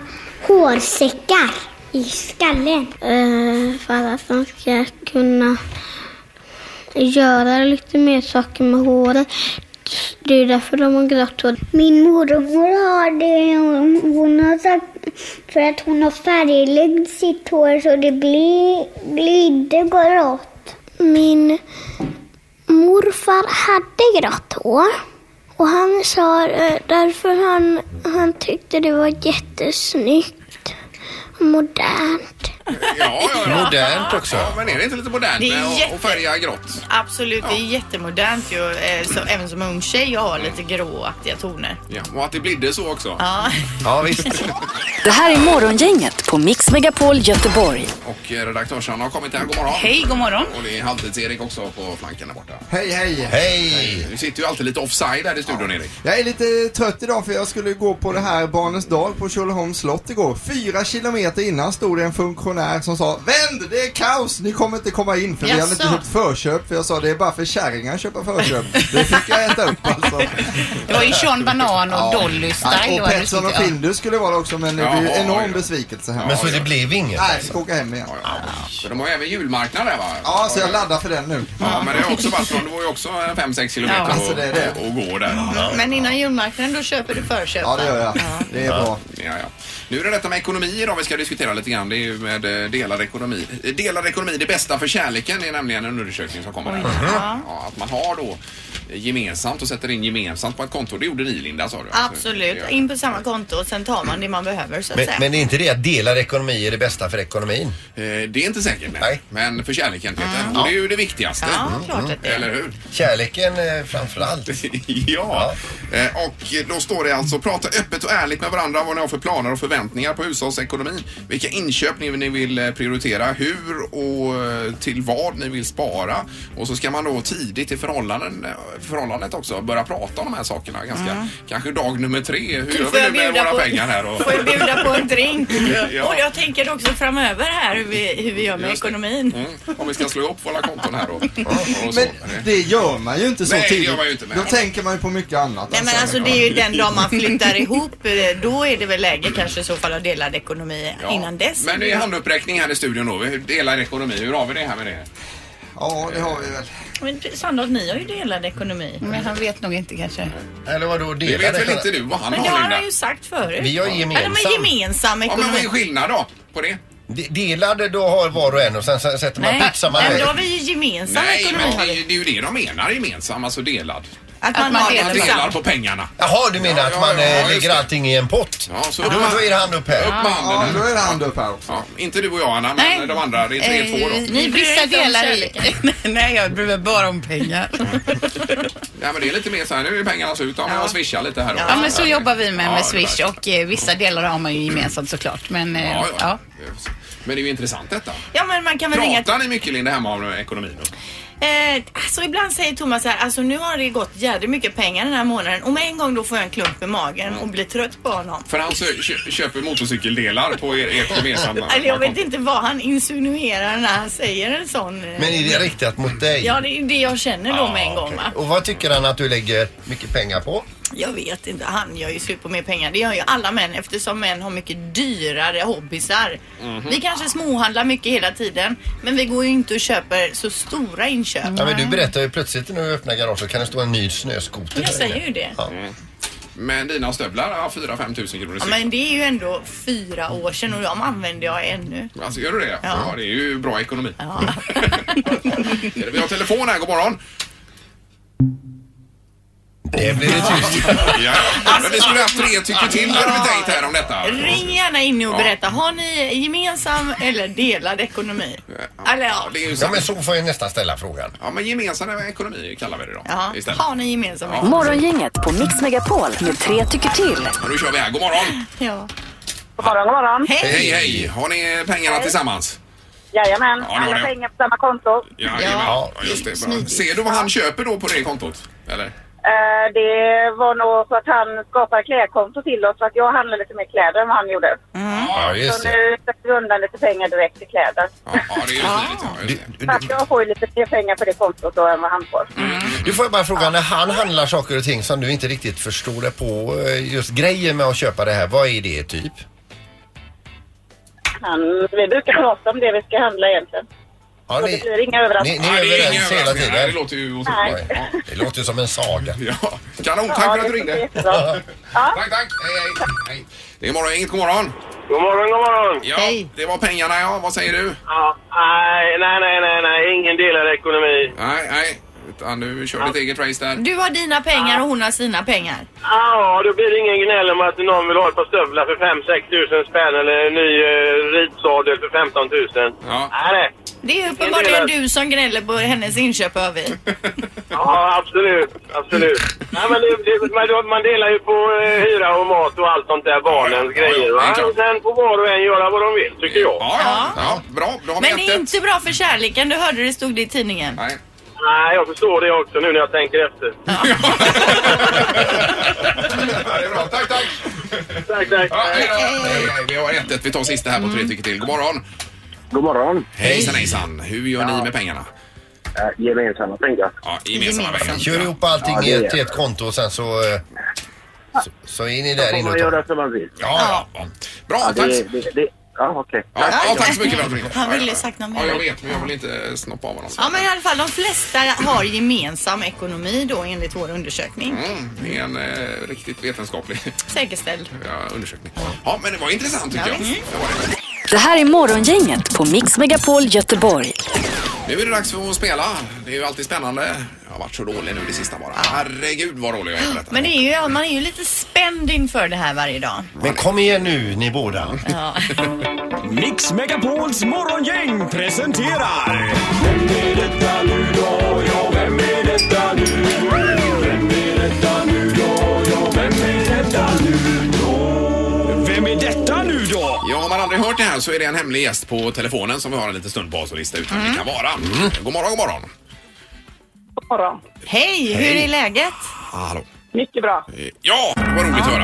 [SPEAKER 9] hårsäckar i skallen. Eh, för att de ska kunna göra lite mer saker med håret. Det är därför de har grått hår. Min mormor har det. Hon, hon har sagt för att hon har färglagt sitt hår så det blir, blir inte grått. Min morfar hade grått hår. Och han sa eh, därför han, han tyckte det var jättesnyggt och modernt.
[SPEAKER 3] Ja, ja,
[SPEAKER 7] Mm.
[SPEAKER 3] ja.
[SPEAKER 4] Modernt också.
[SPEAKER 3] Ja, men är det inte lite modernt
[SPEAKER 5] Det är
[SPEAKER 3] med att-
[SPEAKER 5] jätte-
[SPEAKER 3] att färga grått?
[SPEAKER 5] Absolut, det är jättemodernt ju. eh, Så, även som ung tjej jag har lite gråaktiga toner.
[SPEAKER 3] Ja, och att det blidde så också.
[SPEAKER 5] Ja.
[SPEAKER 4] Ja visst.
[SPEAKER 1] Det här är Morgongänget på Mix Megapol Göteborg.
[SPEAKER 3] Och eh, redaktörsarna har kommit här. God morgon.
[SPEAKER 10] Hej, god morgon.
[SPEAKER 3] Och det är halvtids-Erik också på flanken där borta.
[SPEAKER 7] Hej hej!
[SPEAKER 4] Hej!
[SPEAKER 3] Du sitter ju alltid lite offside här i studion, Erik.
[SPEAKER 7] Jag är lite trött idag för jag skulle gå på det här Barnens dag på Tjolöholms slott igår. Fyra kilometer innan stod det en funktionär som sa Vänd! Det är kaos! Ni kommer inte komma in för vi hade
[SPEAKER 5] Jaså?
[SPEAKER 7] inte köpt förköp. För jag sa det är bara för kärringar att köpa förköp. Det fick jag äta upp alltså.
[SPEAKER 10] Det var ju Sean Banan och Dolly Style.
[SPEAKER 7] och
[SPEAKER 10] var det
[SPEAKER 7] Petson och
[SPEAKER 10] som- ja.
[SPEAKER 7] Findus skulle vara också men det blev ju
[SPEAKER 3] Jaha,
[SPEAKER 7] enorm
[SPEAKER 3] ja.
[SPEAKER 7] besvikelse här.
[SPEAKER 4] Men så det blev inget.
[SPEAKER 7] Nej, jag ska åka hem igen.
[SPEAKER 3] Så de har även julmarknad där, va?
[SPEAKER 7] Ja, så jag laddar för den nu.
[SPEAKER 3] Ja, men det har också varit från, det var ju också en 5-6 kilometer
[SPEAKER 7] Ja, alltså
[SPEAKER 3] att-
[SPEAKER 7] det är det.
[SPEAKER 3] att gå där.
[SPEAKER 5] Mm. Men innan julmarknaden då köper du förköp.
[SPEAKER 7] Ja, det gör jag. Det är bra.
[SPEAKER 3] Ja, ja. Nu är det detta med ekonomi idag vi ska diskutera lite grann. Det är ju med eh, delad ekonomi. Eh, Delad ekonomi, det bästa för kärleken, är nämligen en undersökning som kommer. här. Ja, att man har då eh, gemensamt och sätter in gemensamt på ett konto. Det gjorde ni Linda sa du? Alltså, eh, Det
[SPEAKER 5] Absolut.
[SPEAKER 3] gör-
[SPEAKER 5] In på samma konto och sen tar man det man behöver så att
[SPEAKER 4] Men,
[SPEAKER 5] säga.
[SPEAKER 4] men är inte det att delad ekonomi är det bästa för ekonomin?
[SPEAKER 3] Eh, Det är inte säkert, nej.
[SPEAKER 4] Nej.
[SPEAKER 3] Men för kärleken, Peter. Och det är ju det viktigaste.
[SPEAKER 5] Ah.
[SPEAKER 3] Mm.
[SPEAKER 5] Ja, klart att det
[SPEAKER 3] Eller
[SPEAKER 5] är.
[SPEAKER 3] hur?
[SPEAKER 4] Kärleken eh, framför allt.
[SPEAKER 3] ja. Eh, Och då står det alltså prata öppet och ärligt med varandra vad ni har för planer och förväntningar på hushållsekonomin. Vilka inköp ni, ni vill eh, prioritera, hur och eh, till vad ni vill spara. Och så ska man då tidigt i förhållanden, eh, förhållandet också börja prata om de här sakerna. Ganska, Kanske dag nummer tre. Hur gör
[SPEAKER 5] Får
[SPEAKER 3] vi
[SPEAKER 5] Mm. jag
[SPEAKER 3] nu med
[SPEAKER 5] bjuda
[SPEAKER 3] våra
[SPEAKER 5] på-
[SPEAKER 3] pengar här? Och,
[SPEAKER 5] Får jag bjuda på en drink?
[SPEAKER 3] Ja.
[SPEAKER 5] Och jag tänker också framöver här hur vi, hur vi gör med
[SPEAKER 3] Just det.
[SPEAKER 5] ekonomin.
[SPEAKER 3] mm, om vi ska slå ihop våra konton här då. Och så.
[SPEAKER 7] Men det gör man ju inte så
[SPEAKER 3] Nej, det gör
[SPEAKER 7] tidigt.
[SPEAKER 3] man ju inte, men-
[SPEAKER 7] Då tänker man ju på mycket annat.
[SPEAKER 5] Nej men alltså det är ju den dag man flyttar ihop. eh, Då är det väl läge kanske i så fall att delad ekonomi
[SPEAKER 3] Ja.
[SPEAKER 5] innan dess.
[SPEAKER 3] Men det är handuppräckning här i studion då. Vi delar ekonomi. Hur har vi det här med det?
[SPEAKER 7] Ja, det har vi väl.
[SPEAKER 5] Men Sandholt, ni har ju delad ekonomi.
[SPEAKER 8] Men han vet nog inte kanske.
[SPEAKER 4] Eller vadå delad
[SPEAKER 3] Det vet väl
[SPEAKER 4] ekonomi?
[SPEAKER 3] inte du vad han
[SPEAKER 5] Men det
[SPEAKER 3] har
[SPEAKER 5] har han
[SPEAKER 3] Linda?
[SPEAKER 5] ju sagt förut.
[SPEAKER 4] Vi har
[SPEAKER 5] Eller
[SPEAKER 4] gemensam.
[SPEAKER 5] med gemensam
[SPEAKER 3] Ja, men vad
[SPEAKER 5] ekonomi.
[SPEAKER 3] är skillnad då på det?
[SPEAKER 4] De- Delad, då har var och en och sen s- sätter man
[SPEAKER 5] Nej,
[SPEAKER 4] pizza man
[SPEAKER 5] men då
[SPEAKER 4] äter.
[SPEAKER 5] har vi ju gemensam
[SPEAKER 3] Nej,
[SPEAKER 5] ekonomi.
[SPEAKER 3] men
[SPEAKER 5] har
[SPEAKER 3] det,
[SPEAKER 5] vi.
[SPEAKER 3] är- det är ju det de menar gemensam, alltså delad.
[SPEAKER 5] Att man,
[SPEAKER 8] man
[SPEAKER 5] har
[SPEAKER 8] delar
[SPEAKER 3] Man delar
[SPEAKER 5] gemensam.
[SPEAKER 3] på pengarna.
[SPEAKER 4] Jaha, du menar
[SPEAKER 3] Ja,
[SPEAKER 4] att
[SPEAKER 3] ja,
[SPEAKER 4] man
[SPEAKER 3] ja,
[SPEAKER 4] eh,
[SPEAKER 3] just
[SPEAKER 4] lägger
[SPEAKER 3] det.
[SPEAKER 4] allting i en pott?
[SPEAKER 3] Ja, så
[SPEAKER 4] Då
[SPEAKER 3] man-
[SPEAKER 4] då är det hand upp här.
[SPEAKER 3] Upp med
[SPEAKER 7] Ja,
[SPEAKER 3] handen
[SPEAKER 7] då
[SPEAKER 3] nu.
[SPEAKER 7] är det hand upp här också.
[SPEAKER 3] Ja, inte du och jag Anna, men
[SPEAKER 8] Nej.
[SPEAKER 3] de andra. Det är tre, två då.
[SPEAKER 8] Ni
[SPEAKER 5] bryr er
[SPEAKER 8] vissa
[SPEAKER 5] inte om
[SPEAKER 8] delar i...
[SPEAKER 5] kärleken.
[SPEAKER 8] Nej, jag bryr mig bara om pengar.
[SPEAKER 3] Ja, men det är lite mer så här, nu är pengarna slut. Ja, men jag swishar lite här. och-
[SPEAKER 8] Ja, men så jobbar vi med,
[SPEAKER 3] Ja,
[SPEAKER 8] med
[SPEAKER 3] det
[SPEAKER 8] Swish
[SPEAKER 3] där.
[SPEAKER 8] och eh, vissa delar har man ju gemensamt såklart. Men eh,
[SPEAKER 3] Ja, ja.
[SPEAKER 8] ja.
[SPEAKER 3] Men det är ju intressant detta.
[SPEAKER 5] Ja men man kan väl ringa
[SPEAKER 3] Pratar ni mycket Linda hemma om ekonomin? då?
[SPEAKER 5] Eh, alltså ibland säger Thomas så här, alltså nu har det gått jävligt mycket pengar den här månaden. Om en gång då får jag en klump i magen och blir trött på honom.
[SPEAKER 3] För han sö- kö- köper motorcykeldelar på er, ert gemensamma
[SPEAKER 5] Eller jag vet inte vad han insinuerar när han säger en sån. eh,
[SPEAKER 4] Men är det riktat mot dig?
[SPEAKER 5] Ja det är ju det jag känner då med en gång va.
[SPEAKER 4] Och vad tycker han att du lägger mycket pengar på?
[SPEAKER 5] Jag vet inte, han gör ju slut på mer pengar. Det gör ju alla män eftersom män har mycket dyrare hobbysar.
[SPEAKER 4] Mhm.
[SPEAKER 5] Vi kanske småhandlar mycket hela tiden men vi går ju inte och köper så stora inköp.
[SPEAKER 4] Ja, men du berättar ju plötsligt när du öppnar garaget kan det stå en ny snöskoter
[SPEAKER 5] Jag
[SPEAKER 4] där
[SPEAKER 5] säger
[SPEAKER 4] inne.
[SPEAKER 5] ju det.
[SPEAKER 4] Ja.
[SPEAKER 3] Men dina stövlar, ja, 4-5 tusen kronor
[SPEAKER 5] Ja,
[SPEAKER 3] styck.
[SPEAKER 5] men det är ju ändå fyra år sedan och de använder jag ännu.
[SPEAKER 3] Alltså gör du det? Ja.
[SPEAKER 5] Ja.
[SPEAKER 3] det är ju bra ekonomi. Vi har telefon här, god morgon.
[SPEAKER 4] Det blir det tyst.
[SPEAKER 3] Ja. Men vi skulle haft tre tycker till hade vi tänkt här om detta.
[SPEAKER 5] Ring gärna in nu och
[SPEAKER 3] Ja.
[SPEAKER 5] berätta. Har ni gemensam eller delad ekonomi? Eller ja.
[SPEAKER 3] Ja, det är ju
[SPEAKER 4] Ja,
[SPEAKER 3] sant.
[SPEAKER 4] men så får jag nästan ställa frågan.
[SPEAKER 3] Ja, men gemensam ekonomi kallar vi det då.
[SPEAKER 5] ja.
[SPEAKER 3] Istället.
[SPEAKER 5] Har ni gemensam
[SPEAKER 3] Ja.
[SPEAKER 5] ekonomi?
[SPEAKER 1] Morgongänget på Mix Megapol med tre tycker till.
[SPEAKER 3] Men då kör vi här. God morgon.
[SPEAKER 5] Ja.
[SPEAKER 9] God morgon, god morgon.
[SPEAKER 5] Hej!
[SPEAKER 3] Hej, hej. Har ni pengarna tillsammans?
[SPEAKER 9] Jajamän,
[SPEAKER 3] Ja, det var
[SPEAKER 9] alla
[SPEAKER 3] det.
[SPEAKER 9] pengar på samma konto.
[SPEAKER 3] Ja,
[SPEAKER 4] Ja.
[SPEAKER 3] ja just det. Bra. Ser du vad han köper då på det kontot? Eller?
[SPEAKER 9] Eh, det var nog så att han skapade klädkonto till oss så att jag handlade lite mer kläder än vad han gjorde.
[SPEAKER 4] Ja, just
[SPEAKER 3] Alltså.
[SPEAKER 9] Så
[SPEAKER 4] det.
[SPEAKER 9] nu sätter vi undan lite pengar direkt till kläder.
[SPEAKER 3] Ja, ja det är ju smidigt. Ja, just det.
[SPEAKER 9] Så att jag får ju lite mer pengar på det kontot då än vad han får.
[SPEAKER 4] Du får jag bara fråga, när han handlar saker och ting som du inte riktigt förstår det på, eh, just grejen med att köpa det här, vad är det typ?
[SPEAKER 9] Han, vi brukar prata om det vi ska handla egentligen.
[SPEAKER 4] Ja,
[SPEAKER 9] Så det blir inga överraskningar.
[SPEAKER 4] ni, ni är
[SPEAKER 3] Ja, det är ingen
[SPEAKER 4] överens hela
[SPEAKER 3] överraskning. Nej, Det
[SPEAKER 4] tiden.
[SPEAKER 3] låter ju otroligt.
[SPEAKER 9] Nej.
[SPEAKER 3] Ja.
[SPEAKER 4] Det låter ju som en saga.
[SPEAKER 3] Ja. Kanon, tack för att du
[SPEAKER 9] det är
[SPEAKER 3] ringde.
[SPEAKER 9] jättebra.
[SPEAKER 3] Tack, tack. Hej, hej. hej. Det är morgon, inget god morgon.
[SPEAKER 11] God morgon, god morgon!
[SPEAKER 3] Ja, det var pengarna ja. Vad säger du?
[SPEAKER 11] Ja, nej, nej, nej, nej, nej, ingen delad ekonomi.
[SPEAKER 3] Nej, nej. Utan du kör ditt eget race där.
[SPEAKER 5] Du har dina pengar och hon har sina pengar.
[SPEAKER 11] Ja, då blir det ingen gnäll om att någon vill ha ett par stövlar för 5-6 tusen spänn eller en ny eh, ritsadel för 15 tusen.
[SPEAKER 3] Ja.
[SPEAKER 11] Nej, nej.
[SPEAKER 5] Det är uppenbarligen du som gnäller på hennes inköp hör vi.
[SPEAKER 11] Ja, absolut, absolut. Nej, men det, det, man, då- man delar ju på eh, hyra och mat och allt sånt där, barnens
[SPEAKER 3] Ja, ja,
[SPEAKER 11] grejer.
[SPEAKER 3] det är
[SPEAKER 11] Va?
[SPEAKER 3] klart.
[SPEAKER 11] Och sen får var och en göra vad de vill, tycker jag.
[SPEAKER 3] Ja, ja. ja bra. Då har vi
[SPEAKER 5] Men det är
[SPEAKER 3] hjälpt ett.
[SPEAKER 5] inte bra för kärleken. Du hörde det stod det i tidningen.
[SPEAKER 3] Nej.
[SPEAKER 11] Nej, jag förstår det också nu när jag tänker efter.
[SPEAKER 3] Ja, det är bra. Tack, tack.
[SPEAKER 11] Tack, tack.
[SPEAKER 3] Ja, hej, då. hej, hej. Vi har 1-1. Vi tar sista här på
[SPEAKER 5] Mm.
[SPEAKER 3] tre tycker till. God morgon.
[SPEAKER 11] God morgon.
[SPEAKER 3] Hejsan, hejsan. Hur gör ni med pengarna?
[SPEAKER 11] Gemensamma pengar.
[SPEAKER 3] Ja, gemensamma pengar.
[SPEAKER 4] Kör ihop allting
[SPEAKER 11] Ja, det är
[SPEAKER 4] i- till ett konto och sen så, eh, så, så är ni där inne och tar.
[SPEAKER 11] som man vill.
[SPEAKER 3] Ja, ja. Bra, tack.
[SPEAKER 11] ja, okej.
[SPEAKER 3] Ja, ja, tack så mycket för att du ringde.
[SPEAKER 5] Han ville
[SPEAKER 3] Ja, ja.
[SPEAKER 5] sagt något mer.
[SPEAKER 3] Ja, jag vet, men jag vill inte snoppa av honom.
[SPEAKER 5] Ja men i alla fall de flesta har gemensam ekonomi då enligt vår undersökning.
[SPEAKER 3] Mm, det är en eh, riktigt vetenskaplig
[SPEAKER 5] Säkerställd.
[SPEAKER 3] ja, undersökning. Ja, men det var intressant tycker
[SPEAKER 5] Ja,
[SPEAKER 3] jag. Mm.
[SPEAKER 5] visst.
[SPEAKER 3] Det var det.
[SPEAKER 1] Det här är Morgongänget på Mix Megapol Göteborg.
[SPEAKER 3] Nu är det dags för att spela. Det är ju alltid spännande. Jag har varit så dålig nu det sista bara. Herregud vad dålig jag är på detta.
[SPEAKER 5] Men det är ju, ja, man är ju lite spänd inför det här varje dag.
[SPEAKER 4] Men kom igen nu ni båda.
[SPEAKER 5] Ja.
[SPEAKER 12] Mix Megapols morgongäng presenterar... Vem är detta nu då? Ja, vem är detta nu? Vem är detta nu då? Ja, vem är detta nu då? Vem är detta nu då?
[SPEAKER 3] Ja, om man aldrig hört det här så är det en hemlig gäst på telefonen som vi har en liten stund på oss att lista ut vem
[SPEAKER 5] Mm.
[SPEAKER 3] det kan vara. God morgon, god morgon.
[SPEAKER 9] God morgon.
[SPEAKER 5] Hej, hur är läget?
[SPEAKER 3] Hallå.
[SPEAKER 9] Mycket bra.
[SPEAKER 3] Ja, vad roligt att höra.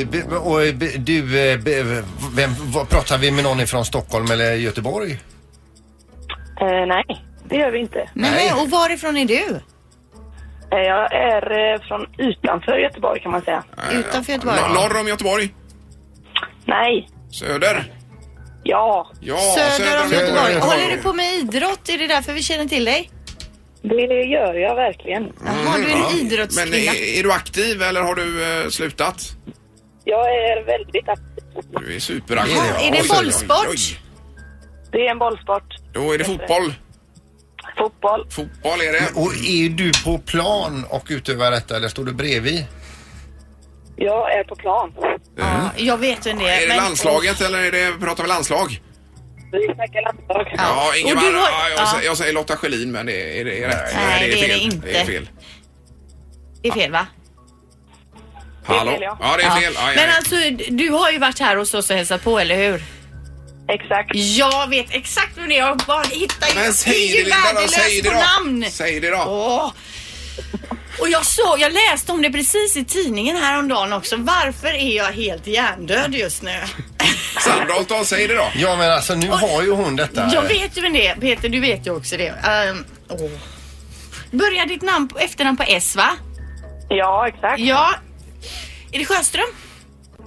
[SPEAKER 4] Eh, be- Och eh, be- du, eh, be- vem, vad, pratar vi med någon ifrån Stockholm eller Göteborg?
[SPEAKER 9] Eh, nej, det gör vi inte.
[SPEAKER 5] Nej. men, och varifrån är du?
[SPEAKER 9] Eh, jag är eh, från utanför Göteborg kan man säga.
[SPEAKER 5] Utanför Göteborg?
[SPEAKER 3] Nor- Norr om Göteborg?
[SPEAKER 9] Nej.
[SPEAKER 3] Söder?
[SPEAKER 9] Ja.
[SPEAKER 3] Ja,
[SPEAKER 5] Söder om Göteborg.
[SPEAKER 3] Göteborg.
[SPEAKER 5] Håller du på med idrott? Är det därför vi känner till dig?
[SPEAKER 9] Det gör jag verkligen.
[SPEAKER 5] Jaha, du är en
[SPEAKER 3] Mm, Men
[SPEAKER 5] idrottskvinna.
[SPEAKER 3] är, är du aktiv eller har du eh, slutat?
[SPEAKER 9] Jag är väldigt aktiv.
[SPEAKER 3] Du är superaktiv.
[SPEAKER 5] Jaha, är
[SPEAKER 3] Oj, oj,
[SPEAKER 5] det
[SPEAKER 3] oj,
[SPEAKER 5] bollsport?
[SPEAKER 3] oj.
[SPEAKER 9] Det är en bollsport.
[SPEAKER 3] Då är det fotboll.
[SPEAKER 9] Fotboll.
[SPEAKER 3] Fotboll är det.
[SPEAKER 4] Och är du på plan och utövar detta eller står du bredvid?
[SPEAKER 9] Jag är på plan.
[SPEAKER 5] Ja, jag vet vem det är.
[SPEAKER 3] Är det
[SPEAKER 5] men-
[SPEAKER 3] landslaget eller är det, pratar vi landslag?
[SPEAKER 9] Vi snackar landslag.
[SPEAKER 3] Ja, Ingemar,
[SPEAKER 5] Och du har-
[SPEAKER 3] ja, jag,
[SPEAKER 5] ja.
[SPEAKER 3] sä- jag säger Lotta Schelin men det är, är, det, är rätt.
[SPEAKER 5] Nej, det är det
[SPEAKER 3] fel.
[SPEAKER 5] inte.
[SPEAKER 3] Det är fel.
[SPEAKER 5] Det är fel va?
[SPEAKER 3] Hallå?
[SPEAKER 9] fel, ja.
[SPEAKER 3] Ja, det är fel. Ja, ja,
[SPEAKER 5] Men
[SPEAKER 3] ja.
[SPEAKER 5] alltså, du har ju varit här hos oss och hälsat på, eller hur?
[SPEAKER 9] Exakt.
[SPEAKER 5] Jag vet exakt vem det är. Jag bara hittar ju...
[SPEAKER 3] Men säg
[SPEAKER 5] jag är
[SPEAKER 3] det
[SPEAKER 5] ju
[SPEAKER 3] Linda då,
[SPEAKER 5] värdelös
[SPEAKER 3] säg det
[SPEAKER 5] på
[SPEAKER 3] då.
[SPEAKER 5] namn.
[SPEAKER 3] Säg det då.
[SPEAKER 5] Åh. Och jag såg, jag läste om det precis i tidningen häromdagen också. Varför är jag helt hjärndöd just nu?
[SPEAKER 3] Sandholt då, säg det då.
[SPEAKER 4] Ja men alltså nu har ju hon detta.
[SPEAKER 5] Jag vet ju vem det är. Peter, du vet ju också det. Ehm, åh. Börjar ditt namn på, efternamn på S, va?
[SPEAKER 9] Ja, exakt.
[SPEAKER 5] Ja. Är det Sjöström?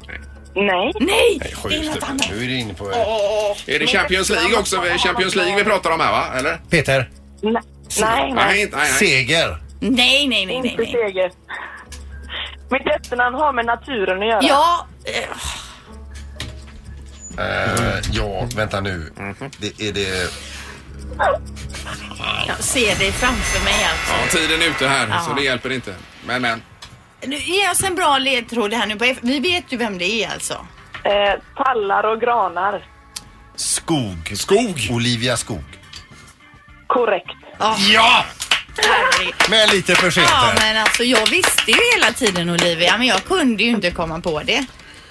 [SPEAKER 9] Nej.
[SPEAKER 5] Nej!
[SPEAKER 4] Nej,
[SPEAKER 5] det är
[SPEAKER 4] sjukt.
[SPEAKER 5] något annat.
[SPEAKER 4] Nu är du inne på...
[SPEAKER 5] Åh.
[SPEAKER 3] Är det Champions League också? Champions League vi pratar om här va? Eller?
[SPEAKER 4] Peter,
[SPEAKER 9] Nej, nej.
[SPEAKER 3] Nej, inte- nej, nej.
[SPEAKER 4] seger.
[SPEAKER 5] Nej, nej, nej, nej.
[SPEAKER 9] Inte
[SPEAKER 5] nej.
[SPEAKER 9] seger. Mitt efternamn har med naturen att göra.
[SPEAKER 5] Ja, eh,
[SPEAKER 4] Eh, ja, vänta nu. Det, är det...
[SPEAKER 5] jag ser dig framför mig alltså.
[SPEAKER 3] Ja, tiden är ute här så
[SPEAKER 5] Ja.
[SPEAKER 3] det hjälper inte. Men men.
[SPEAKER 5] Nu, ge oss en bra ledtråd här nu på F. Vi vet ju vem det är alltså.
[SPEAKER 9] Eh, tallar och granar.
[SPEAKER 4] Skog.
[SPEAKER 3] Skog!
[SPEAKER 4] Olivia Skog.
[SPEAKER 9] Korrekt.
[SPEAKER 4] Ja!
[SPEAKER 5] Herregud.
[SPEAKER 4] Men lite försiktigt.
[SPEAKER 5] Ja men alltså jag visste ju hela tiden Olivia men jag kunde ju inte komma på det.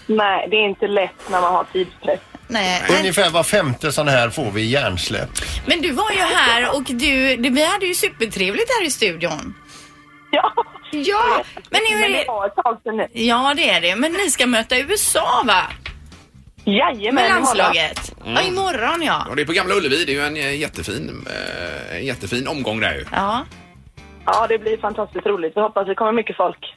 [SPEAKER 9] Nej, det är inte lätt när man har tidspress.
[SPEAKER 5] Nej. Men,
[SPEAKER 4] Ungefär var femte sån här får vi i hjärnsläpp.
[SPEAKER 5] men du var ju här och du, det- vi hade ju supertrevligt här i studion.
[SPEAKER 9] Ja,
[SPEAKER 5] Ja, men nu är
[SPEAKER 9] men det
[SPEAKER 5] det...
[SPEAKER 9] var ett tag sedan nu.
[SPEAKER 5] Ja det är det, men ni ska möta USA va?
[SPEAKER 9] Jajamän,
[SPEAKER 5] Med
[SPEAKER 9] i Holland.
[SPEAKER 5] landslaget. Ja imorgon ja.
[SPEAKER 3] Ja, det är på Gamla Ullevi. Det är ju en eh, jättefin, eh, en jättefin omgång där ju.
[SPEAKER 5] Ja.
[SPEAKER 9] Ja, det blir fantastiskt roligt. Vi hoppas det kommer mycket folk.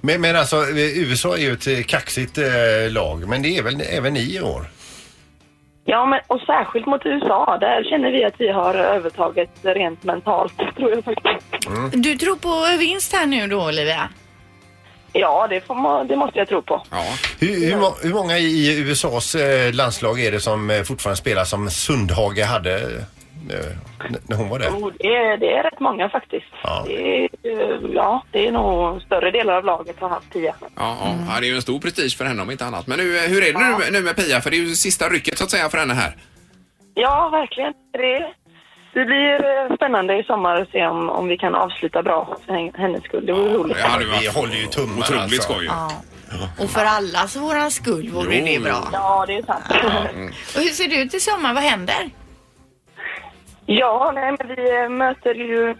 [SPEAKER 4] Men, men alltså eh, USA är ju ett eh, kaxigt eh, lag men det är väl även ni i år?
[SPEAKER 9] Ja, men och särskilt mot USA. Där känner vi att vi har övertaget rent mentalt, tror jag faktiskt.
[SPEAKER 5] Du tror på vinst här nu då Olivia?
[SPEAKER 9] Ja, det, får man, det måste jag tro på.
[SPEAKER 3] Ja.
[SPEAKER 4] Hur, hur, må- hur många i USAs eh, landslag är det som eh, fortfarande spelar som Sundhage hade eh, n- när hon var där?
[SPEAKER 9] Och det, är, det är rätt många faktiskt.
[SPEAKER 4] Ja.
[SPEAKER 9] Det, är, eh, ja, det är nog större delar av laget har haft tio.
[SPEAKER 3] Ja, ja.
[SPEAKER 4] Mm.
[SPEAKER 3] ja, det är ju en stor prestige för henne om inte annat. Men nu, eh, hur är det nu, nu med Pia? För det är ju sista rycket så att säga för henne här.
[SPEAKER 9] Ja, verkligen. Det, det blir eh, spännande i sommar att se om, om vi kan avsluta bra för hen- hennes skull. Det vore roligt.
[SPEAKER 3] hade
[SPEAKER 4] vi
[SPEAKER 3] varit
[SPEAKER 4] håller ju tummarna,
[SPEAKER 3] Otroligt
[SPEAKER 4] alltså.
[SPEAKER 3] skoj ju.
[SPEAKER 5] Ja. Och för allas våran skull vore
[SPEAKER 3] Jo,
[SPEAKER 5] det
[SPEAKER 3] jo.
[SPEAKER 5] bra.
[SPEAKER 9] Ja, det är sant.
[SPEAKER 5] Och hur ser det ut i sommar? Vad händer?
[SPEAKER 9] Ja, nej, men vi eh, möter ju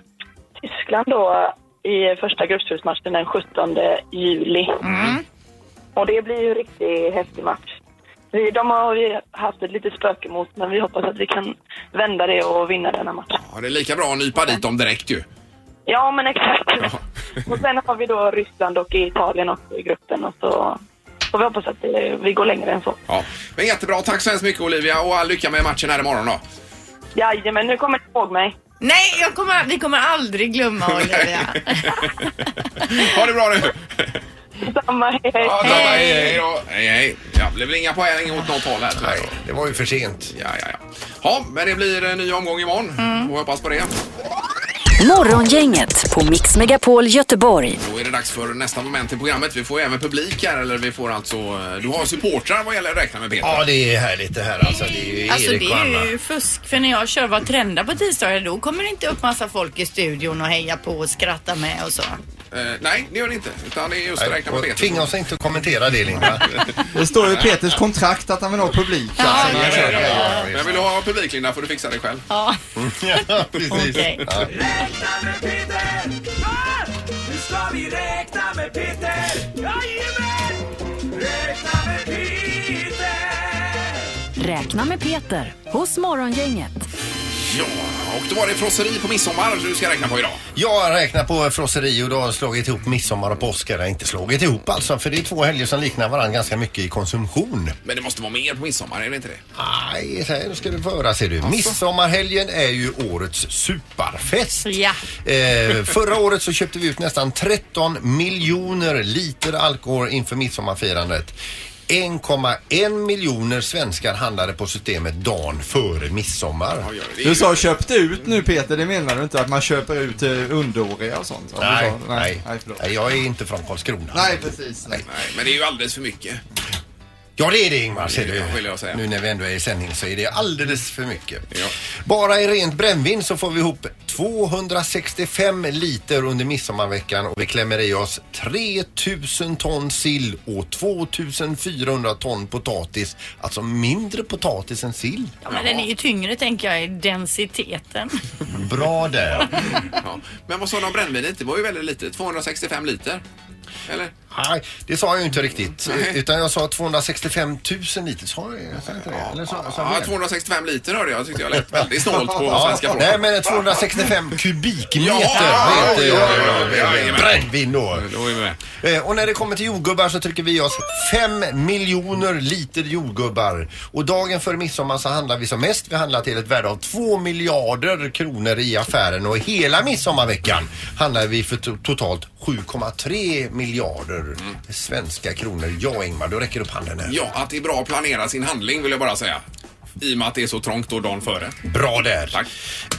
[SPEAKER 9] Tyskland då i första gruppspelsmatchen den 17 juli. Och det blir ju en riktigt häftig match. Vi, de har vi haft ett litet spöke mot, men vi hoppas att vi kan vända det och vinna denna match.
[SPEAKER 3] Ja, det är lika bra att nypa dit dem direkt ju.
[SPEAKER 9] Ja, men exakt.
[SPEAKER 3] Ja.
[SPEAKER 9] Och sen har vi då Ryssland och Italien också i gruppen och så får vi hoppas att eh, vi går längre än så.
[SPEAKER 3] Ja. Men jättebra. Tack så hemskt mycket Olivia och all lycka med matchen här imorgon då.
[SPEAKER 9] Jajamän, nu kommer ni ihåg mig.
[SPEAKER 5] Nej, jag kommer, vi kommer aldrig glömma Olivia.
[SPEAKER 3] ha det bra nu!
[SPEAKER 9] Samma, hej.
[SPEAKER 3] Ja, tack, hej, hej, då. hej, hej. Ja, det blir inga poäng åt något håll här tyvärr.
[SPEAKER 4] Det var ju för sent.
[SPEAKER 3] Ja, ja, ja. Ja, men det blir en ny omgång imorgon.
[SPEAKER 4] Mm.
[SPEAKER 3] Och hoppas på det.
[SPEAKER 1] Morgongänget på Mix Megapol Göteborg.
[SPEAKER 3] Då är det dags för nästa moment i programmet. Vi får även publik här, eller vi får alltså... Du har supportrar vad gäller att räkna med Peter.
[SPEAKER 4] Ja, det är härligt det här alltså. Det är ju
[SPEAKER 5] Alltså
[SPEAKER 4] Erik
[SPEAKER 5] det
[SPEAKER 4] och Anna.
[SPEAKER 5] är ju fusk för när jag kör Vad trendar på tisdagar då kommer det inte upp massa folk i studion och heja på och skratta med och så.
[SPEAKER 3] Eh, nej, det gör det inte. Utan det är just att räkna med Peter.
[SPEAKER 4] Tvinga oss inte att kommentera det Linda.
[SPEAKER 7] Det står ju i Peters kontrakt att han vill ha publik.
[SPEAKER 3] Ja, ja, ja, ja, ja. Men vill du ha publik Linda får du fixa det själv.
[SPEAKER 5] Ja.
[SPEAKER 4] Ja, precis.
[SPEAKER 12] Okej.
[SPEAKER 4] Ja.
[SPEAKER 12] Nu ska vi räkna med Peter! Jajamän! Räkna med Peter!
[SPEAKER 1] Räkna med Peter hos Morgongänget.
[SPEAKER 3] Ja, och då var det frosseri på midsommar du ska räkna på idag.
[SPEAKER 4] Jag räknar på frosseri och då har jag slagit ihop midsommar och påsk. Eller inte slagit ihop alltså, för det är två helger som liknar varandra ganska mycket i konsumtion.
[SPEAKER 3] Men det måste vara mer på midsommar, är det inte det?
[SPEAKER 4] Nej, så här, nu ska du få höra ser du.
[SPEAKER 3] Alltså.
[SPEAKER 4] Midsommarhelgen är ju årets superfest.
[SPEAKER 5] Ja.
[SPEAKER 4] Eh, förra året så köpte vi ut nästan 13 miljoner liter alkohol inför midsommarfirandet. 1,1 miljoner svenskar handlade på systemet dagen före midsommar.
[SPEAKER 7] Du sa köpt ut nu Peter, det menar du inte att man köper ut till underåriga och sånt? va? Du
[SPEAKER 4] Nej,
[SPEAKER 7] sa,
[SPEAKER 4] nej, nej, jag är inte från Karlskrona.
[SPEAKER 7] Nej, precis. Nej.
[SPEAKER 3] Nej, men det är ju alldeles för mycket.
[SPEAKER 4] Ja, det är det Ingmar, ser du.
[SPEAKER 3] vill jag säga.
[SPEAKER 4] Nu när vi ändå är i sändning så är det alldeles för mycket.
[SPEAKER 3] Ja.
[SPEAKER 4] Bara i rent brännvin så får vi ihop 265 liter under midsommarveckan och vi klämmer i oss 3000 ton sill och 2400 ton potatis. Alltså mindre potatis än sill.
[SPEAKER 5] Ja, men den är ju tyngre tänker jag i densiteten.
[SPEAKER 4] Bra där.
[SPEAKER 3] Ja. Men vad sa de om brännvinet? Det var ju väldigt lite. 265 liter. Eller?
[SPEAKER 4] Nej, det sa jag ju inte riktigt. Utan jag sa 265 000 liter. Sa jag, jag sa inte det? Eller sa, sa jag
[SPEAKER 3] Ja,
[SPEAKER 4] fel?
[SPEAKER 3] 265 liter hörde jag. Tyckte jag lät väldigt snålt på
[SPEAKER 4] Ja,
[SPEAKER 3] svenska folket.
[SPEAKER 4] Nej men 265 kubikmeter
[SPEAKER 3] Ja, ja,
[SPEAKER 4] vet,
[SPEAKER 3] ja, ja, ja,
[SPEAKER 4] eh,
[SPEAKER 3] ja, jajamän.
[SPEAKER 4] brännvin då.
[SPEAKER 3] Då är vi med.
[SPEAKER 4] Eh, Och när det kommer till jordgubbar så trycker vi i oss 5 miljoner liter jordgubbar. Och dagen före midsommar så handlar vi som mest. Vi handlar till ett värde av 2 miljarder kronor i affären och hela midsommarveckan handlar vi för to- totalt 7,3 miljarder svenska kronor. Ja Ingmar, du räcker upp handen här.
[SPEAKER 3] Mm. Ja, att det är bra att planera sin handling vill jag bara säga. I och med att det är så trångt då dagen före.
[SPEAKER 4] Bra där.
[SPEAKER 3] Tack.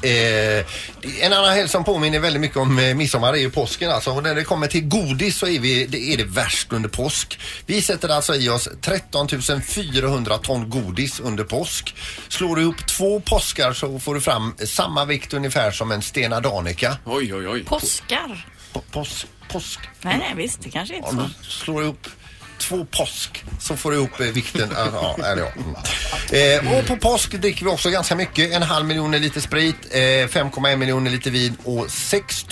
[SPEAKER 4] Eh, en annan helg som påminner väldigt mycket om eh, midsommar är ju påsken alltså. Och när det kommer till godis så är, vi, det, är det värst under påsk. Vi sätter alltså i oss 13 400 ton godis under påsk. Slår du ihop två påskar så får du fram samma vikt ungefär som en Stena Danica.
[SPEAKER 3] Oj, oj, oj.
[SPEAKER 5] Påskar.
[SPEAKER 4] På- Påsk, påsk.
[SPEAKER 5] Nej, nej visst, det kanske inte är
[SPEAKER 4] Om
[SPEAKER 5] så.
[SPEAKER 4] du slår ihop två påsk så får du ihop eh, vikten. Ja, ja, eller ja. Mm. Eh, och på påsk dricker vi också ganska mycket. En halv miljon liter sprit, eh, 5,1 miljoner liter vin och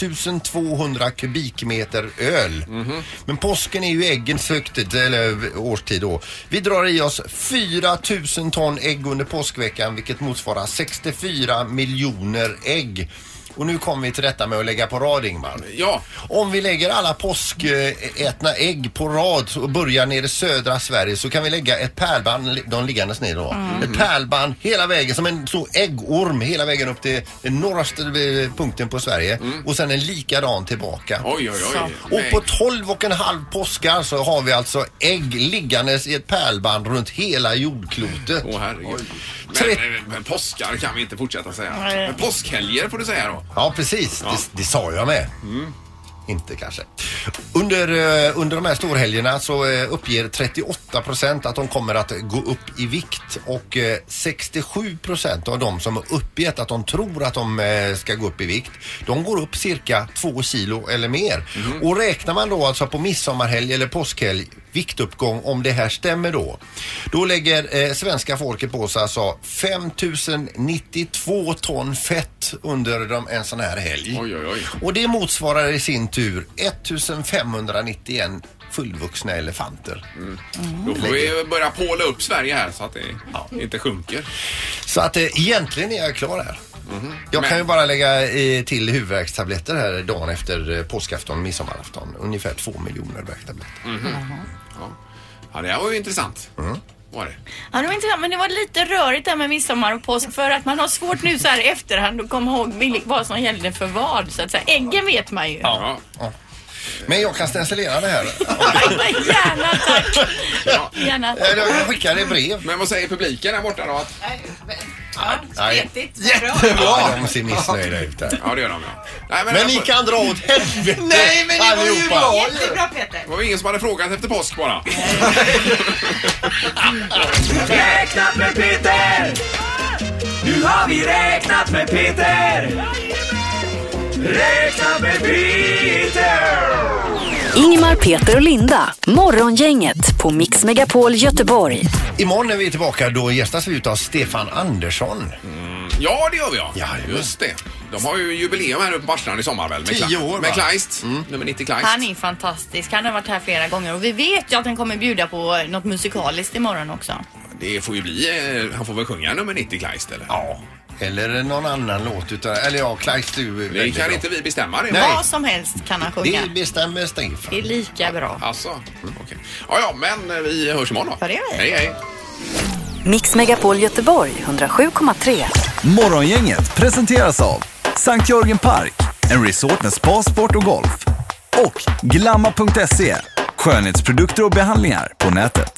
[SPEAKER 4] 6200 kubikmeter öl. Men påsken är ju äggens högtid, eller årstid då. Vi drar i oss 4000 ton ägg under påskveckan vilket motsvarar 64 miljoner ägg. Och nu kommer vi till detta med att lägga på rad Ingmar.
[SPEAKER 3] Ja,
[SPEAKER 4] Om vi lägger alla påskätna ägg på rad och börjar nere i södra Sverige så kan vi lägga ett pärlband, de liggandes ner då,
[SPEAKER 3] Mm.
[SPEAKER 4] ett pärlband hela vägen som en stor äggorm hela vägen upp till den norraste eh, punkten på Sverige och sen en likadan tillbaka.
[SPEAKER 3] Mm. oj, oj, oj.
[SPEAKER 4] Och
[SPEAKER 3] Nej.
[SPEAKER 4] på 12 och en halv påskar så har vi alltså ägg liggandes i ett pärlband runt hela jordklotet.
[SPEAKER 3] Åh herregud.
[SPEAKER 4] Tre-
[SPEAKER 3] Men, men, men påskar kan vi inte fortsätta säga. Men påskhelger får du säga då.
[SPEAKER 4] Ja, precis. Det, det sa jag med. Inte kanske. Under, eh, under de här storhelgerna så eh, uppger 38 procent att de kommer att gå upp i vikt och eh, 67 procent av de som har uppgett att de tror att de eh, ska gå upp i vikt, de går upp cirka 2 kilo eller mer. Och räknar man då alltså på midsommarhelg eller påskhelg viktuppgång om det här stämmer då. Då lägger eh, svenska folket på sig alltså 5092 ton fett under de, en sån här helg.
[SPEAKER 3] Oj, oj, oj.
[SPEAKER 4] Och det motsvarar i sin tur 1591 fullvuxna elefanter.
[SPEAKER 3] Då får vi börja påla upp Sverige här så att det inte sjunker.
[SPEAKER 4] Så att eh, egentligen är jag klar här. Jag
[SPEAKER 3] Mhm. Men-
[SPEAKER 4] kan ju bara lägga eh, till huvudvärkstabletter här dagen efter eh, påskafton och midsommarafton. Ungefär två miljoner värktabletter.
[SPEAKER 3] Mm. Ja, ja det här var ju intressant.
[SPEAKER 4] Mm.
[SPEAKER 3] Var det?
[SPEAKER 5] Ja, det var intressant, men det var lite rörigt där med midsommar och påsk för att man har svårt nu så här i efterhand att komma ihåg vil- vad som gällde för vad. Så att säga. Äggen vet man ju.
[SPEAKER 3] Ja.
[SPEAKER 4] Men jag kan stencilera det här. Eh,
[SPEAKER 5] Gärna tack. Gärna.
[SPEAKER 4] Jag skickar det brev.
[SPEAKER 3] Men vad säger publiken här borta då? Att...
[SPEAKER 4] Nej.
[SPEAKER 5] Spretigt.
[SPEAKER 4] Ja, de ser missnöjda ut där.
[SPEAKER 3] Ja, det gör de ja. Nej,
[SPEAKER 4] Men ni kan dra åt helvete
[SPEAKER 3] Nej, men det var ju
[SPEAKER 4] allihopa.
[SPEAKER 3] bra.
[SPEAKER 5] Jättebra Peter.
[SPEAKER 3] Det var ju ingen som hade frågat efter påsk bara.
[SPEAKER 12] Räknat med Peter! Nu har vi räknat med Peter! Räknat med Peter!
[SPEAKER 1] Ingmar, Peter och Linda. Morgongänget på Mix Megapol Göteborg.
[SPEAKER 4] Imorgon när vi är tillbaka då gästas vi utav Stefan Andersson.
[SPEAKER 3] Ja, det gör vi ja.
[SPEAKER 4] Jajamän.
[SPEAKER 3] Just det. De har ju jubileum här uppe på Marstrand i sommar väl? Med
[SPEAKER 4] Tio år, va? Mm.
[SPEAKER 3] Med Kleist, nummer 90 Kleist.
[SPEAKER 5] Han är fantastisk. Han har varit här flera gånger och vi vet ju att han kommer bjuda på något musikaliskt imorgon också.
[SPEAKER 3] Det får ju bli, eh, han får väl sjunga nummer 90 Kleist eller?
[SPEAKER 4] Ja. Eller någon annan låt utan, eller ja, Kleist du är
[SPEAKER 3] Det
[SPEAKER 4] väldigt
[SPEAKER 3] kan
[SPEAKER 4] bra.
[SPEAKER 3] inte vi bestämma det.
[SPEAKER 4] Nej.
[SPEAKER 5] Vad som helst kan han sjunga.
[SPEAKER 4] Det bestämmer Stefan.
[SPEAKER 5] Det är lika bra.
[SPEAKER 3] Alltså, mm, okej. Ja, ja, men eh, vi hörs imorgon då.
[SPEAKER 5] Ja, det gör vi.
[SPEAKER 3] Hej, hej.
[SPEAKER 1] Mix Megapol Göteborg 107,3.
[SPEAKER 2] Morgongänget presenteras av Sankt Jörgen Park, en resort med spa, sport och golf. Och Glamma.se, E, skönhetsprodukter och behandlingar på nätet.